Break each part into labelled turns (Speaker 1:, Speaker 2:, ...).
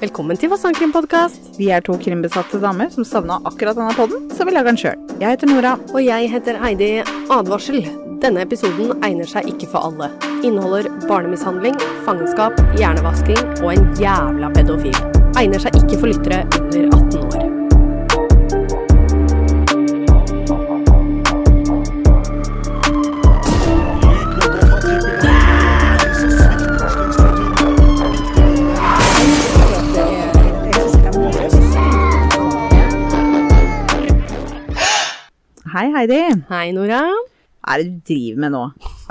Speaker 1: Velkommen til Våsan krimpodkast.
Speaker 2: Vi er to krimbesatte damer som savna akkurat denne podden, så vi lager den sjøl. Jeg heter Nora.
Speaker 1: Og jeg heter Heidi Advarsel. Denne episoden egner seg ikke for alle. Inneholder barnemishandling, fangenskap, hjernevasking og en jævla pedofil. Egner seg ikke for lyttere under 18 år.
Speaker 2: Hei, Heidi.
Speaker 1: Hei, Nora.
Speaker 2: Hva er det du driver med nå?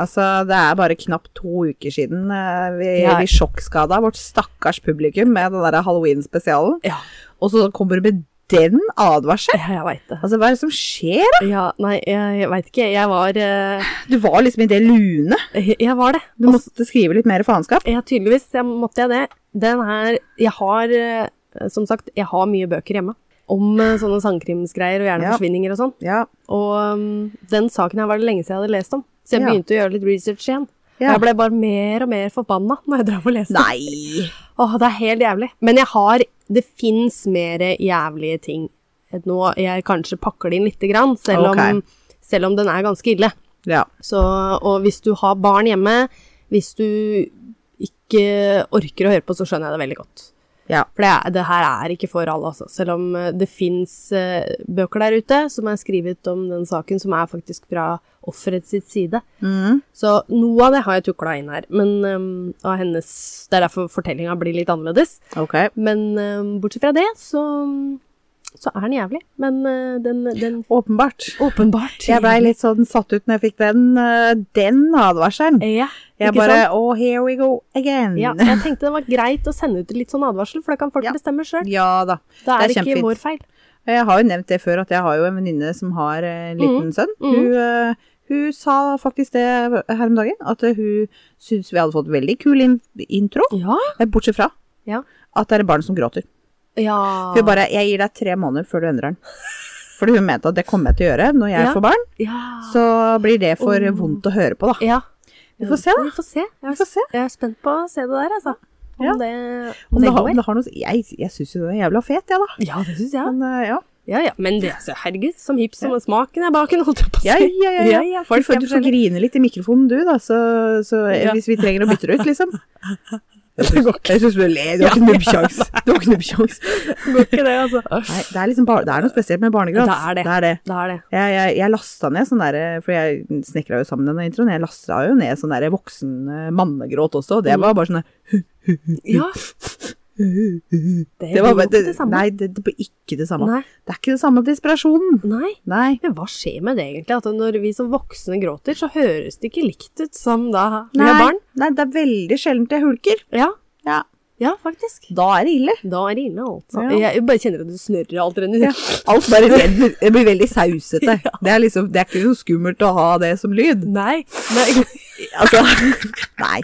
Speaker 2: Altså, det er bare knapt to uker siden eh, vi,
Speaker 1: Ja.
Speaker 2: vi sjokkskada vårt stakkars publikum med den derre halloween-spesialen,
Speaker 1: Ja,
Speaker 2: og så kommer du med den advarselen?
Speaker 1: jeg veit det.
Speaker 2: Altså, hva er det som skjer, da?
Speaker 1: Ja, nei, jeg veit ikke. Jeg var eh,
Speaker 2: Du var liksom i det lune.
Speaker 1: Jeg var det.
Speaker 2: Du måtte skrive litt mer faenskap.
Speaker 1: Ja, tydeligvis jeg måtte jeg det. Den her Jeg har, eh, som sagt, jeg har mye bøker hjemme. Om eh, sånne sangkrimsgreier og
Speaker 2: Ja.
Speaker 1: hjerneforsvinninger og sånn.
Speaker 2: Ja.
Speaker 1: Og um, den saken her var det lenge siden jeg hadde lest om. Så jeg
Speaker 2: Ja.
Speaker 1: begynte å gjøre litt research igjen.
Speaker 2: Ja.
Speaker 1: Jeg ble bare mer og mer forbanna når jeg drev og leste.
Speaker 2: Nei.
Speaker 1: Åh, det er helt jævlig. Men jeg har Det fins mer jævlige ting enn nå. Jeg kanskje pakker det inn lite grann, selv, om,
Speaker 2: Ok.
Speaker 1: selv om den er ganske ille.
Speaker 2: Ja.
Speaker 1: Så, og hvis du har barn hjemme, hvis du ikke orker å høre på, så skjønner jeg det veldig godt.
Speaker 2: Ja.
Speaker 1: For det, er- det her er ikke for alle, altså. Selv om eh, det fins eh, bøker der ute som er skrevet om den saken, som er faktisk fra offeret sitt side.
Speaker 2: Mm.
Speaker 1: Så noe av det har jeg tukla inn her. Men ehm, av hennes Det er derfor fortellinga blir litt annerledes.
Speaker 2: Ok.
Speaker 1: Men ehm, bortsett fra det, så, så er den jævlig. Men eh, den, den
Speaker 2: Åpenbart.
Speaker 1: Åpenbart.
Speaker 2: Jeg blei litt sånn satt ut når jeg fikk den, eh, den advarselen.
Speaker 1: Ja,
Speaker 2: Jeg
Speaker 1: ikke
Speaker 2: bare
Speaker 1: sant?
Speaker 2: Oh, here we go again.
Speaker 1: Ja, jeg tenkte det var greit å sende ut litt sånn advarsel, for da kan folk
Speaker 2: Ja.
Speaker 1: bestemme sjøl.
Speaker 2: Ja da.
Speaker 1: Det er,
Speaker 2: det er
Speaker 1: ikke
Speaker 2: kjempefint.
Speaker 1: vår feil.
Speaker 2: Jeg har jo nevnt det før at jeg har jo en venninne som har eh, en liten sønn.
Speaker 1: mhm.
Speaker 2: Hun, eh, hun sa faktisk det her om dagen, at eh, hun syntes vi hadde fått veldig kul in intro,
Speaker 1: Ja.
Speaker 2: eh, bortsett fra
Speaker 1: Ja. Ah.
Speaker 2: at det er barn som gråter.
Speaker 1: ja.
Speaker 2: Hun bare 'Jeg gir deg tre måneder før du endrer den'. Fordi hun mente at det kommer jeg til å gjøre når jeg
Speaker 1: Ja.
Speaker 2: får barn.
Speaker 1: ja.
Speaker 2: Så blir det for
Speaker 1: Oh.
Speaker 2: vondt å høre på, da.
Speaker 1: ja.
Speaker 2: Vi får se, da.
Speaker 1: Vi får se. Jeg,
Speaker 2: Vi
Speaker 1: er,
Speaker 2: får se.
Speaker 1: jeg er spent på å se det der, altså. Om
Speaker 2: Ja.
Speaker 1: det,
Speaker 2: Om det, har,
Speaker 1: går.
Speaker 2: om det har noe Jeg, jeg syns jo du er jævla fet, jeg, da.
Speaker 1: Ja, det syns jeg.
Speaker 2: Men eh, ja.
Speaker 1: Ja, ja. Men det, altså, herregud, som hipp som smaken er baken, holdt jeg på å si.
Speaker 2: Ja, ja, ja, ja.
Speaker 1: folk
Speaker 2: du får,
Speaker 1: er
Speaker 2: du får
Speaker 1: forskjellige.
Speaker 2: grine litt i mikrofonen, du, da, så, så eh,
Speaker 1: Ja.
Speaker 2: hvis vi trenger å bytte det ut, liksom. Jeg syns du ler. Du har ikke nubbkjangs. Du har ikke nubbkjangs.
Speaker 1: Går ikke det, altså.
Speaker 2: Nei, det er liksom bar det er noe spesielt med barnegråt.
Speaker 1: Det er det.
Speaker 2: Det er det.
Speaker 1: Det er det.
Speaker 2: Jeg, jeg, jeg lasta ned sånn derre For jeg snekra jo sammen denne introen. Jeg lasta jo ned sånn derre voksen eh, mannegråt også,
Speaker 1: Mm.
Speaker 2: og det var bare sånn der-
Speaker 1: Ja. Det,
Speaker 2: Det
Speaker 1: blir
Speaker 2: var
Speaker 1: jo
Speaker 2: bare
Speaker 1: ikke det samme.
Speaker 2: Nei, det, det blir ikke det samme.
Speaker 1: Nei.
Speaker 2: Det er ikke det samme desperasjonen.
Speaker 1: Nei.
Speaker 2: Nei.
Speaker 1: Men hva skjer med det egentlig? At når vi som voksne gråter, så høres det ikke likt ut som da vi
Speaker 2: Nei.
Speaker 1: er barn?
Speaker 2: Nei, det er veldig sjeldent jeg hulker.
Speaker 1: Ja.
Speaker 2: Ja.
Speaker 1: Ja, faktisk.
Speaker 2: Da er det ille.
Speaker 1: Da er det ille, altså.
Speaker 2: Ja.
Speaker 1: Jeg bare kjenner at du snørrer alt renner.
Speaker 2: Ja. Alt bare det blir, det blir veldig sausete. Det, er liksom, det er ikke så skummelt å ha det som lyd.
Speaker 1: Nei. Nei.
Speaker 2: Altså, nei.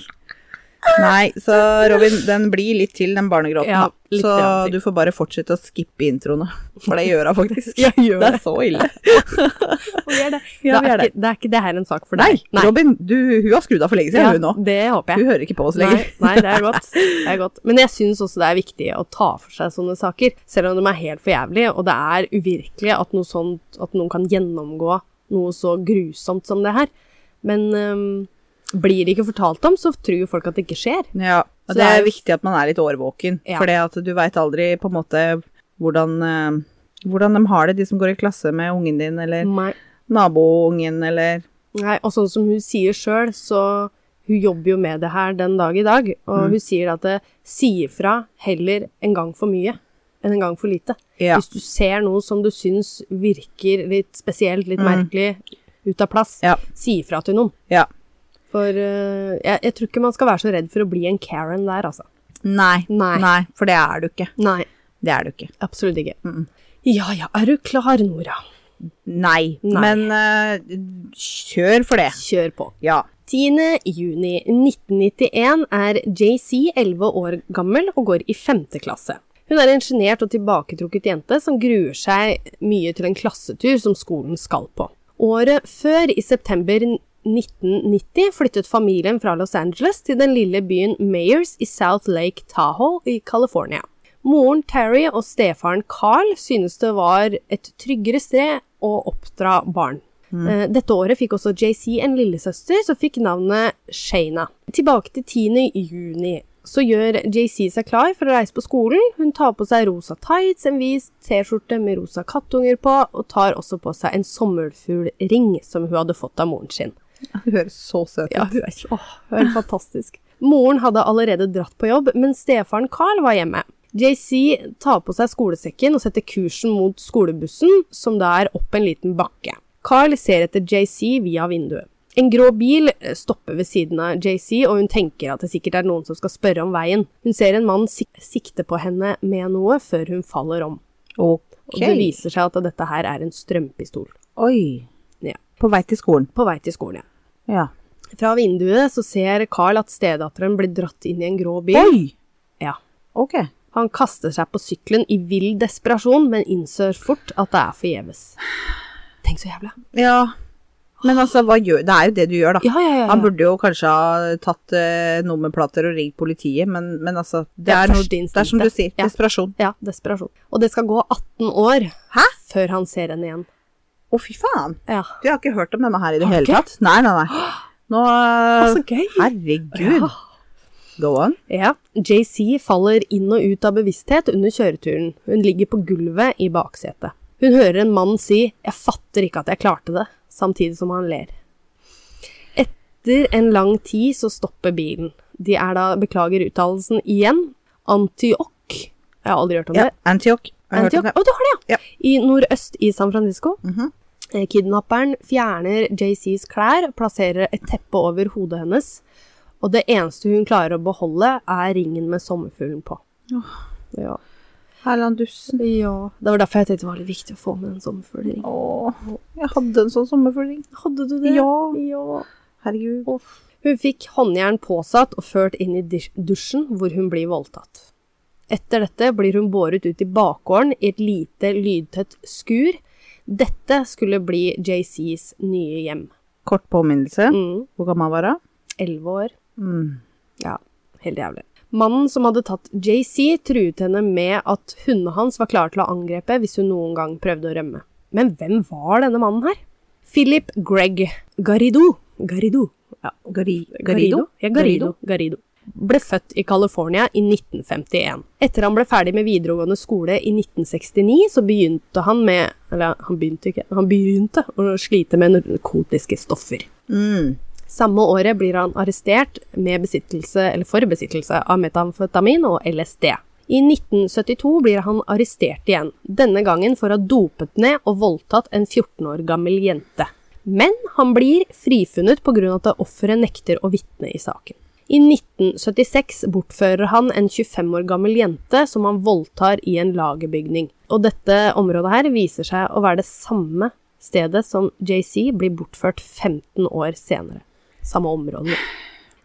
Speaker 2: Nei, så Robin, den blir litt til den barnegråten.
Speaker 1: Ja,
Speaker 2: da.
Speaker 1: litt
Speaker 2: så
Speaker 1: grann til.
Speaker 2: du får bare fortsette å skippe introene, for det gjør hun faktisk.
Speaker 1: Jeg gjør
Speaker 2: det er så ille.
Speaker 1: Vi er det.
Speaker 2: Ja,
Speaker 1: det,
Speaker 2: vi
Speaker 1: er
Speaker 2: er det.
Speaker 1: Ikke, det er ikke det her en sak for
Speaker 2: Nei,
Speaker 1: deg.
Speaker 2: Robin, du, hun har skrudd av for lenge siden,
Speaker 1: Ja,
Speaker 2: hun nå.
Speaker 1: det håper
Speaker 2: Hun
Speaker 1: jeg.
Speaker 2: hører ikke på oss
Speaker 1: Nei,
Speaker 2: lenger.
Speaker 1: nei, det er godt. Det er godt. Men jeg syns også det er viktig å ta for seg sånne saker, selv om de er helt for jævlige, og det er uvirkelig at, noe sånt, at noen kan gjennomgå noe så grusomt som det her. Men øhm, blir det ikke fortalt om, så tror jo folk at det ikke skjer.
Speaker 2: Ja,
Speaker 1: Så
Speaker 2: og det
Speaker 1: det er
Speaker 2: er
Speaker 1: jo-
Speaker 2: viktig at man er litt årvåken,
Speaker 1: Ja.
Speaker 2: for at du veit aldri på en måte hvordan, eh, hvordan de har det, de som går i klasse med ungen din, eller
Speaker 1: Nei.
Speaker 2: naboungen, eller
Speaker 1: Nei, og sånn som hun sier sjøl, så hun jobber jo med det her den dag i dag, og
Speaker 2: Mm.
Speaker 1: hun sier at det sier fra heller en gang for mye enn en gang for lite.
Speaker 2: Ja.
Speaker 1: Hvis du ser noe som du syns virker litt spesielt, litt merkelig, ut av plass,
Speaker 2: Ja.
Speaker 1: si ifra til noen.
Speaker 2: Ja.
Speaker 1: For eh, jeg, jeg tror ikke man skal være så redd for å bli en Karen der, altså.
Speaker 2: Nei,
Speaker 1: Nei.
Speaker 2: for det er du ikke.
Speaker 1: Nei,
Speaker 2: Det er du ikke.
Speaker 1: absolutt ikke. Ja ja, er du klar, Nora?
Speaker 2: Nei,
Speaker 1: Nei.
Speaker 2: men eh, kjør for det.
Speaker 1: Kjør på.
Speaker 2: Ja.
Speaker 1: 10. juni 1991 er JC 11 år gammel og går i 5. klasse. Hun er en sjenert og tilbaketrukket jente som gruer seg mye til en klassetur som skolen skal på. Året før, i september 1990, flyttet familien fra Los Angeles til den lille byen Mayers i South Lake Tahoe i California. Moren Terry og stefaren Carl synes det var et tryggere sted å oppdra barn. Eh, Dette året fikk også JC en lillesøster som fikk navnet Shayna. Tilbake til 10. juni så gjør JC seg klar for å reise på skolen. Hun tar på seg rosa tights, en vis T-skjorte med rosa kattunger på, og tar også på seg en sommerfuglring som hun hadde fått av moren sin.
Speaker 2: Hun høres så søt ut.
Speaker 1: Ja, hun er, åh, hun er fantastisk. Moren hadde allerede dratt på jobb, men stefaren Carl var hjemme. JC tar på seg skolesekken og setter kursen mot skolebussen, som da er opp en liten bakke. Carl ser etter JC via vinduet. En grå bil eh, stopper ved siden av JC, og hun tenker at det sikkert er noen som skal spørre om veien. Hun ser en mann sik sikte på henne med noe før hun faller om, og det
Speaker 2: Ok.
Speaker 1: viser seg at dette her er en strømpistol.
Speaker 2: Oi.
Speaker 1: Ja.
Speaker 2: På vei til skolen.
Speaker 1: På vei til skolen, ja.
Speaker 2: Ja.
Speaker 1: Fra vinduet så ser Carl at stedatteren blir dratt inn i en grå bil.
Speaker 2: Oi!
Speaker 1: Ja.
Speaker 2: Ok.
Speaker 1: Han kaster seg på sykkelen i vill desperasjon, men innser fort at det er forgjeves. Tenk så jævla.
Speaker 2: Ja. Men altså, hva gjør Det er jo det du gjør, da.
Speaker 1: Ja, ja, ja. ja.
Speaker 2: Han burde jo kanskje ha tatt eh, nummerplater og ringt politiet, men, men altså Det,
Speaker 1: Det er
Speaker 2: er noe,
Speaker 1: første
Speaker 2: det er som du
Speaker 1: instinktet.
Speaker 2: sier,
Speaker 1: Ja.
Speaker 2: desperasjon.
Speaker 1: Ja, desperasjon. Og det skal gå 18 år
Speaker 2: Hæ?
Speaker 1: før han ser henne igjen.
Speaker 2: Å, fy faen!
Speaker 1: Ja.
Speaker 2: Du har ikke hørt om denne her i det
Speaker 1: Har du
Speaker 2: hele
Speaker 1: ikke?
Speaker 2: tatt? Nei, nei, nei. Nå eh,
Speaker 1: gøy!
Speaker 2: Herregud. Go on.
Speaker 1: Ja. JC faller inn og ut av bevissthet under kjøreturen. Hun ligger på gulvet i baksetet. Hun hører en mann si 'jeg fatter ikke at jeg klarte det', samtidig som han ler. Etter en lang tid så stopper bilen. De er da, beklager uttalelsen igjen, Antioch. Jeg har aldri hørt om
Speaker 2: Ja,
Speaker 1: det.
Speaker 2: Antioch. Jeg har hørt om
Speaker 1: Antioch. Å,
Speaker 2: det.
Speaker 1: du har det, ja!
Speaker 2: Ja.
Speaker 1: I nordøst i San Francisco.
Speaker 2: Mhm.
Speaker 1: Eh, Kidnapperen fjerner JCs klær, plasserer et teppe over hodet hennes, og det eneste hun klarer å beholde, er ringen med sommerfuglen på. Ja.
Speaker 2: Herland Dussen.
Speaker 1: ja. Det var derfor jeg tenkte det var litt viktig å få med den sommerfuglringen.
Speaker 2: Åh, jeg hadde en sånn sommerfugling.
Speaker 1: Hadde du det?
Speaker 2: Ja.
Speaker 1: ja.
Speaker 2: Herregud.
Speaker 1: Hun fikk håndjern påsatt og ført inn i dis- dusjen, hvor hun blir voldtatt. Etter dette blir hun båret ut i bakgården i et lite, lydtett skur. Dette skulle bli JCs nye hjem.
Speaker 2: Kort påminnelse.
Speaker 1: Mm,
Speaker 2: Hvor gammel var hun?
Speaker 1: 11 år.
Speaker 2: Mm.
Speaker 1: Ja, helt jævlig. Mannen som hadde tatt JC, truet henne med at hundene hans var klare til å angrepe hvis hun noen gang prøvde å rømme. Men hvem var denne mannen her? Philip Greg Garrido. Garrido. Ja,
Speaker 2: Gari
Speaker 1: Garrido?
Speaker 2: Garido?
Speaker 1: Ja, Garrido. Garrido. Ble født i California i 1951. Etter han ble ferdig med videregående skole i 1969, så begynte han med Eller han begynte ikke, han begynte å slite med narkotiske stoffer.
Speaker 2: Mm.
Speaker 1: Samme året blir han arrestert med besittelse, eller for besittelse av metamfetamin og LSD. I 1972 blir han arrestert igjen, denne gangen for å ha dopet ned og voldtatt en 14 år gammel jente. Men han blir frifunnet pga. at offeret nekter å vitne i saken. I 1976 bortfører han en 25 år gammel jente som han voldtar i en lagerbygning. Og dette området her viser seg å være det samme stedet som JC blir bortført 15 år senere. Samme område.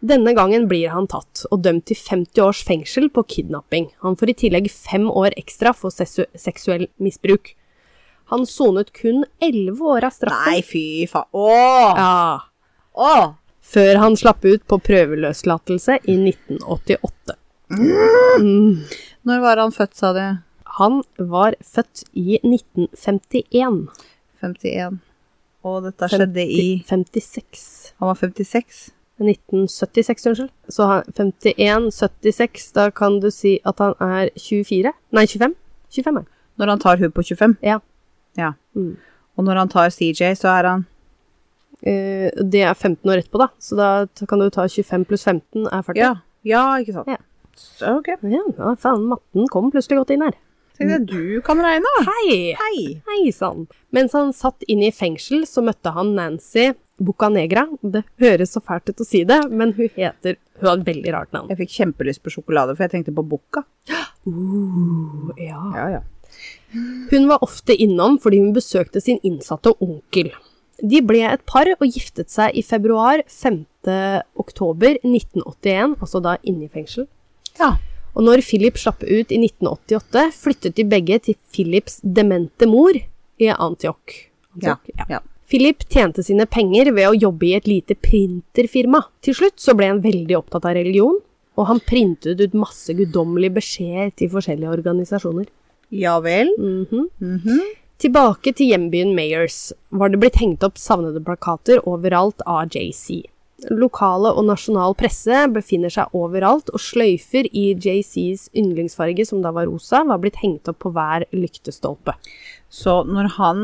Speaker 1: Denne gangen blir han tatt og dømt til 50 års fengsel på kidnapping. Han får i tillegg fem år ekstra for sesu- seksuell misbruk. Han sonet kun 11 år av straffen.
Speaker 2: Nei, fy faen. Åh!
Speaker 1: Ja,
Speaker 2: Åh!
Speaker 1: før han slapp ut på prøveløslatelse i 1988.
Speaker 2: Når var han født, sa du?
Speaker 1: Han var født i 1951.
Speaker 2: 51. Og dette skjedde i
Speaker 1: 56.
Speaker 2: Han var 56.
Speaker 1: 1976, unnskyld. Så han 51, 76, da kan du si at han er 24? Nei, 25? 25 er han.
Speaker 2: Når han tar hun på 25.
Speaker 1: Ja.
Speaker 2: Ja.
Speaker 1: Mm.
Speaker 2: Og når han tar CJ, så er han
Speaker 1: Eh, det er 15 år etterpå, da. Så da t- kan du ta 25 pluss 15 er 40.
Speaker 2: Ja, ja ikke sant.
Speaker 1: Ja.
Speaker 2: Så, ok.
Speaker 1: ja ja, faen, matten kom plutselig godt inn her.
Speaker 2: Tenk deg, du kan regne, da.
Speaker 1: Hei!
Speaker 2: Mm. Hei!
Speaker 1: Hei sann! Mens han satt inne i fengsel, så møtte han Nancy Bucanegra. Det høres så fælt ut å si det, men hun heter Hun har et veldig rart navn.
Speaker 2: Jeg fikk kjempelyst på sjokolade, for jeg tenkte på Bukka.
Speaker 1: Uh, ja.
Speaker 2: Ja, ja.
Speaker 1: Hun var ofte innom fordi hun besøkte sin innsatte onkel. De ble et par og giftet seg i februar 5. oktober 1981, altså da inne i fengsel.
Speaker 2: ja.
Speaker 1: Og når Philip slapp ut i 1988, flyttet de begge til Philips demente mor i Antioch.
Speaker 2: Ja.
Speaker 1: Antioch,
Speaker 2: ja.
Speaker 1: Philip tjente sine penger ved å jobbe i et lite printerfirma. Til slutt så ble han veldig opptatt av religion, Og han printet ut masse guddommelige beskjeder til forskjellige organisasjoner.
Speaker 2: Ja vel. Mhm.
Speaker 1: Tilbake til hjembyen Mayers var det blitt hengt opp savnede plakater overalt av JC. Lokale og nasjonal presse befinner seg overalt, og sløyfer i JCs yndlingsfarge, som da var rosa, var blitt hengt opp på hver lyktestolpe.
Speaker 2: Så når han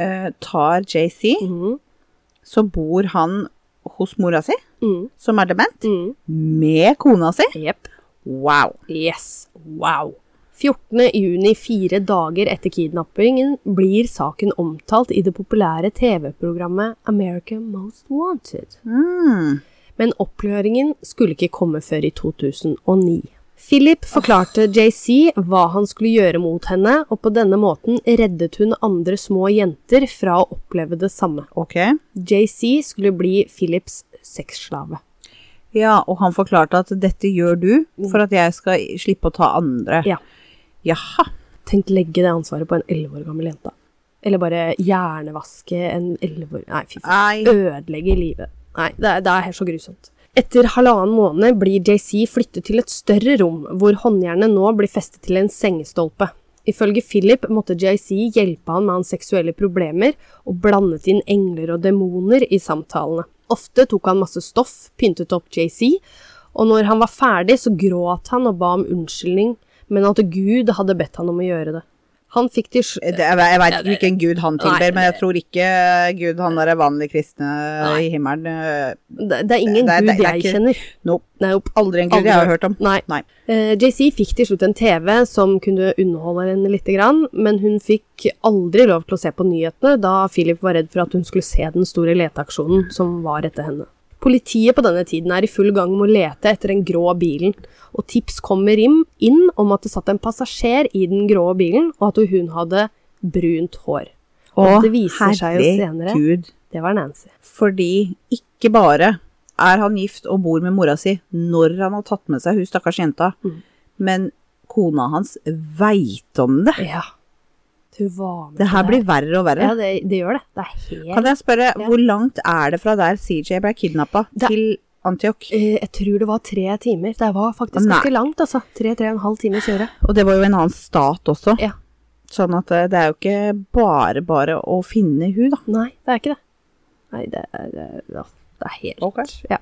Speaker 2: eh, tar JC,
Speaker 1: Mhm,
Speaker 2: så bor han hos mora si,
Speaker 1: mhm,
Speaker 2: som er dement,
Speaker 1: mhm.
Speaker 2: med kona si.
Speaker 1: Jepp.
Speaker 2: Wow.
Speaker 1: Yes. Wow. 14. juni, fire dager etter kidnappingen, blir saken omtalt i det populære TV-programmet America Most Wanted.
Speaker 2: Mm.
Speaker 1: Men oppklaringen skulle ikke komme før i 2009. Philip forklarte JC hva han skulle gjøre mot henne, og på denne måten reddet hun andre små jenter fra å oppleve det samme.
Speaker 2: Ok.
Speaker 1: JC skulle bli Philips sexslave.
Speaker 2: Ja, og han forklarte at dette gjør du for at jeg skal slippe å ta andre.
Speaker 1: Ja.
Speaker 2: Jaha.
Speaker 1: Tenk legge det ansvaret på en 11 år gammel jente. Eller bare hjernevaske en 11 år Nei, fy faen.
Speaker 2: Nei.
Speaker 1: Ødelegge livet. Nei, det er, det er så grusomt. Etter halvannen måned blir JC flyttet til et større rom, hvor håndjernet nå blir festet til en sengestolpe. Ifølge Philip måtte JC hjelpe han med hans seksuelle problemer, og blandet inn engler og demoner i samtalene. Ofte tok han masse stoff, pyntet opp JC, og når han var ferdig, så gråt han og ba om unnskyldning, men at Gud hadde bedt han om å gjøre det. Han fikk til sl-
Speaker 2: Det, jeg jeg veit ikke hvilken gud han tilber, men jeg tror ikke gud han derre vanlige kristne i himmelen øh,
Speaker 1: Det, det er ingen
Speaker 2: Det er- det er-
Speaker 1: gud
Speaker 2: det er
Speaker 1: jeg
Speaker 2: ikke-
Speaker 1: kjenner.
Speaker 2: Nope.
Speaker 1: Nei, opp.
Speaker 2: Aldri en gud jeg har hørt om.
Speaker 1: Nei.
Speaker 2: Nei.
Speaker 1: Eh, JC fikk til slutt en TV som kunne underholde henne litt, grann, men hun fikk aldri lov til å se på nyhetene da Philip var redd for at hun skulle se den store leteaksjonen som var etter henne. Politiet på denne tiden er i full gang med å lete etter den grå bilen, og tips kommer inn inn om at det satt en passasjer i den grå bilen, og at hun hadde brunt hår. Og det viser seg jo senere.
Speaker 2: herregud.
Speaker 1: Det var Nancy.
Speaker 2: Fordi ikke bare er han gift og bor med mora si når han har tatt med seg hun stakkars jenta,
Speaker 1: Mm.
Speaker 2: men kona hans veit om det.
Speaker 1: Ja. Hun var med
Speaker 2: Det her
Speaker 1: på
Speaker 2: blir verre og verre.
Speaker 1: Ja, det, det gjør det. Det er helt
Speaker 2: Kan jeg spørre,
Speaker 1: Ja.
Speaker 2: hvor langt er det fra der CJ ble kidnappa,
Speaker 1: Det-
Speaker 2: til Antioch?
Speaker 1: Eh, Jeg tror det var tre timer. Det var faktisk
Speaker 2: Nei.
Speaker 1: ganske langt, altså. Tre, tre og en halv time å kjøre.
Speaker 2: Og det var jo en annen stat også,
Speaker 1: Ja.
Speaker 2: sånn at eh, det er jo ikke bare bare å finne hun, da.
Speaker 1: Nei, det er ikke det. Nei, det er, det er, ja, det er helt
Speaker 2: Ok.
Speaker 1: Ja.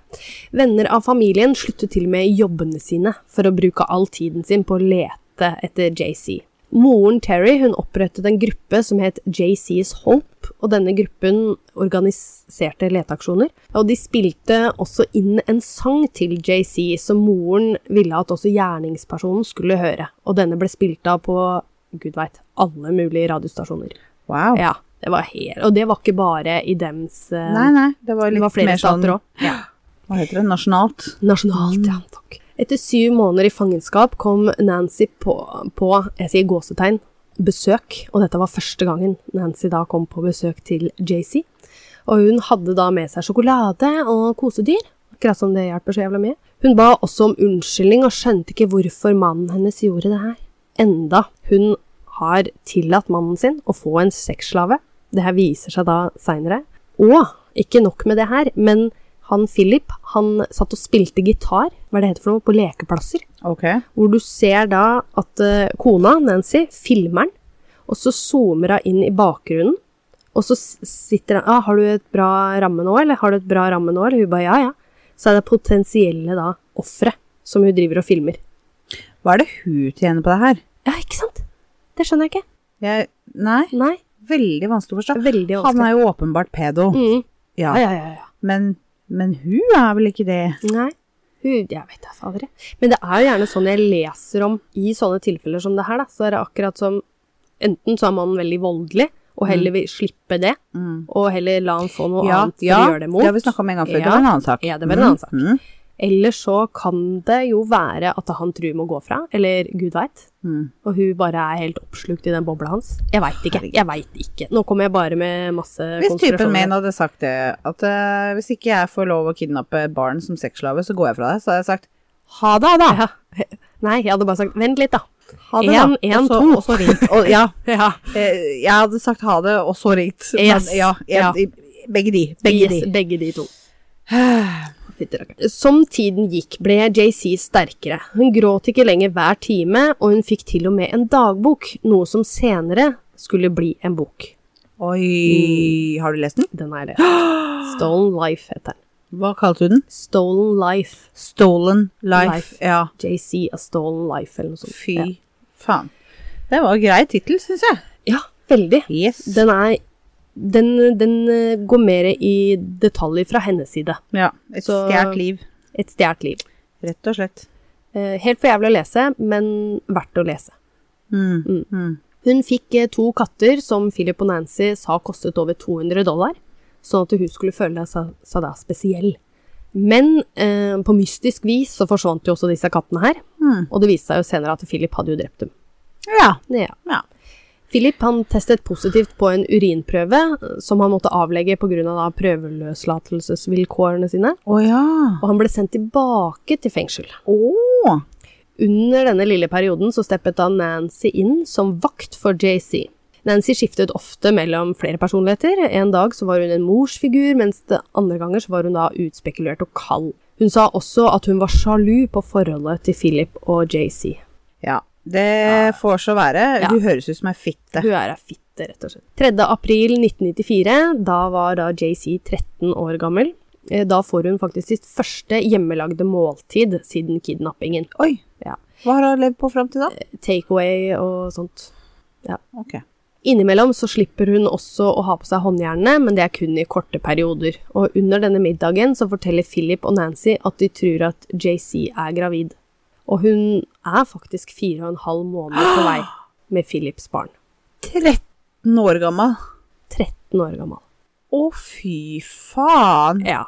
Speaker 1: Venner av familien sluttet til og med jobbene sine for å bruke all tiden sin på å lete etter JC. Moren Terry hun opprettet en gruppe som het JCs Hope, og denne gruppen organiserte leteaksjoner. Og de spilte også inn en sang til JC som moren ville at også gjerningspersonen skulle høre, og denne ble spilt av på gud veit alle mulige radiostasjoner.
Speaker 2: Wow.
Speaker 1: Ja, det var helt, og det var ikke bare i dems eh,
Speaker 2: Nei, nei, det var
Speaker 1: Det
Speaker 2: litt
Speaker 1: var flere
Speaker 2: mer sånn,
Speaker 1: stater òg. Ja.
Speaker 2: hva heter det, nasjonalt.
Speaker 1: Nasjonalt,
Speaker 2: Mm.
Speaker 1: ja. Takk. Etter syv måneder i fangenskap kom Nancy på, på jeg sier gåsetegn, besøk. Og dette var første gangen Nancy da kom på besøk til JC. Og hun hadde da med seg sjokolade og kosedyr. Akkurat som det hjelper så jævla mye. Hun ba også om unnskyldning og skjønte ikke hvorfor mannen hennes gjorde det her. Enda hun har tillatt mannen sin å få en sexslave. Det her viser seg da seinere. Og ikke nok med det her, men han Philip, han satt og spilte gitar, hva er det heter for noe, på lekeplasser.
Speaker 2: Ok.
Speaker 1: Hvor du ser da at eh, kona, Nancy, filmer den, og så zoomer hun inn i bakgrunnen. Og så s- sitter han ah, 'Har du et bra ramme nå?' eller 'Har du et bra ramme nå?' eller hun bare 'ja, ja'. Så er det potensielle da offeret som hun driver og filmer.
Speaker 2: Hva er det hun tjener på det her?
Speaker 1: Ja, ikke sant? Det skjønner jeg ikke.
Speaker 2: Jeg, nei,
Speaker 1: Nei.
Speaker 2: veldig vanskelig å forstå.
Speaker 1: Veldig
Speaker 2: Han
Speaker 1: vanskelig.
Speaker 2: er jo åpenbart pedo,
Speaker 1: Mm.
Speaker 2: ja.
Speaker 1: Ja, ja, ja, ja.
Speaker 2: Men, men hun er vel ikke det?
Speaker 1: Nei. Hun, jeg vet da fader. jeg. Men det er jo gjerne sånn jeg leser om i sånne tilfeller som det her, da. Så er det akkurat som Enten så er mannen veldig voldelig, og heller vil slippe det,
Speaker 2: Mm.
Speaker 1: og heller la han få noe annet for
Speaker 2: ja,
Speaker 1: å gjøre det mot.
Speaker 2: det har vi snakka om en gang før. Det
Speaker 1: Ja.
Speaker 2: var en annen sak.
Speaker 1: Ja, det var en annen sak.
Speaker 2: Mm.
Speaker 1: Eller så kan det jo være at han tror må gå fra, eller gud veit.
Speaker 2: Mm.
Speaker 1: Og hun bare er helt oppslukt i den bobla hans. Jeg veit ikke. Jeg veit ikke. Nå kommer jeg bare med masse
Speaker 2: Hvis typen min
Speaker 1: konspirasjoner.
Speaker 2: hadde sagt det, at eh, hvis ikke jeg får lov å kidnappe et barn som sexslave, så går jeg fra deg, så hadde jeg sagt
Speaker 1: Ha det, da! Ja. Nei, jeg hadde bare sagt vent litt, da.
Speaker 2: ha det, da.
Speaker 1: En, en,
Speaker 2: og så,
Speaker 1: to.
Speaker 2: Og så ringt. Og, ja,
Speaker 1: Ja.
Speaker 2: eh, jeg hadde sagt ha det, og så ringt.
Speaker 1: Yes.
Speaker 2: Men, ja, jeg,
Speaker 1: Ja.
Speaker 2: Begge de. Begge
Speaker 1: yes,
Speaker 2: de.
Speaker 1: begge de to. fytti rakkeren. Som tiden gikk, ble JC sterkere. Hun gråt ikke lenger hver time, og hun fikk til og med en dagbok, noe som senere skulle bli en bok. Mm.
Speaker 2: Oi, har du lest den?
Speaker 1: Den er det. Stolen Life heter den.
Speaker 2: Hva kalte du den?
Speaker 1: Stolen Life.
Speaker 2: Stolen Life.
Speaker 1: Life.
Speaker 2: Ja,
Speaker 1: JC A Stolen Life, eller noe sånt.
Speaker 2: fy
Speaker 1: Ja.
Speaker 2: faen. Det var en grei tittel, syns jeg.
Speaker 1: Ja, veldig.
Speaker 2: Yes.
Speaker 1: Den er den, den eh, går mer i detalj fra hennes side.
Speaker 2: ja, et
Speaker 1: Så-
Speaker 2: stjålet liv,
Speaker 1: Et stjålet liv.
Speaker 2: rett og slett.
Speaker 1: Eh, Helt for jævlig å lese, men verdt å lese.
Speaker 2: Mm.
Speaker 1: Hun fikk eh, to katter som Philip og Nancy sa kostet over 200 dollar, sånn at hun skulle føle seg, seg da spesiell. Men eh, på mystisk vis så forsvant jo også disse kattene her,
Speaker 2: Mm.
Speaker 1: og det viste seg jo senere at Philip hadde jo drept dem.
Speaker 2: Ja.
Speaker 1: Ja.
Speaker 2: ja.
Speaker 1: Philip han testet positivt på en urinprøve eh, som han måtte avlegge pga. Av da prøveløslatelsesvilkårene sine,
Speaker 2: Å ja.
Speaker 1: og han ble sendt tilbake til fengsel.
Speaker 2: Å.
Speaker 1: Under denne lille perioden så steppet da Nancy inn som vakt for JC. Nancy skiftet ofte mellom flere personligheter. En dag så var hun en morsfigur, mens det andre ganger så var hun da utspekulert og kald. Hun sa også at hun var sjalu på forholdet til Philip og JC.
Speaker 2: Ja. Det får så være.
Speaker 1: Ja.
Speaker 2: Du høres ut som ei fitte.
Speaker 1: Hun er ei fitte, rett og slett. 3. april 1994, da var da JC 13 år gammel. Eh, Da får hun faktisk sitt første hjemmelagde måltid siden kidnappingen.
Speaker 2: Oi.
Speaker 1: Ja.
Speaker 2: Hva har hun levd på fram til da?
Speaker 1: Takeaway og sånt.
Speaker 2: Ok.
Speaker 1: Innimellom så slipper hun også å ha på seg håndjernene, men det er kun i korte perioder. Og under denne middagen så forteller Philip og Nancy at de tror at JC er gravid. Og hun er faktisk fire og en halv måned på vei med Philips barn.
Speaker 2: 13 år gammel.
Speaker 1: 13 år gammel.
Speaker 2: Å, fy faen.
Speaker 1: Ja.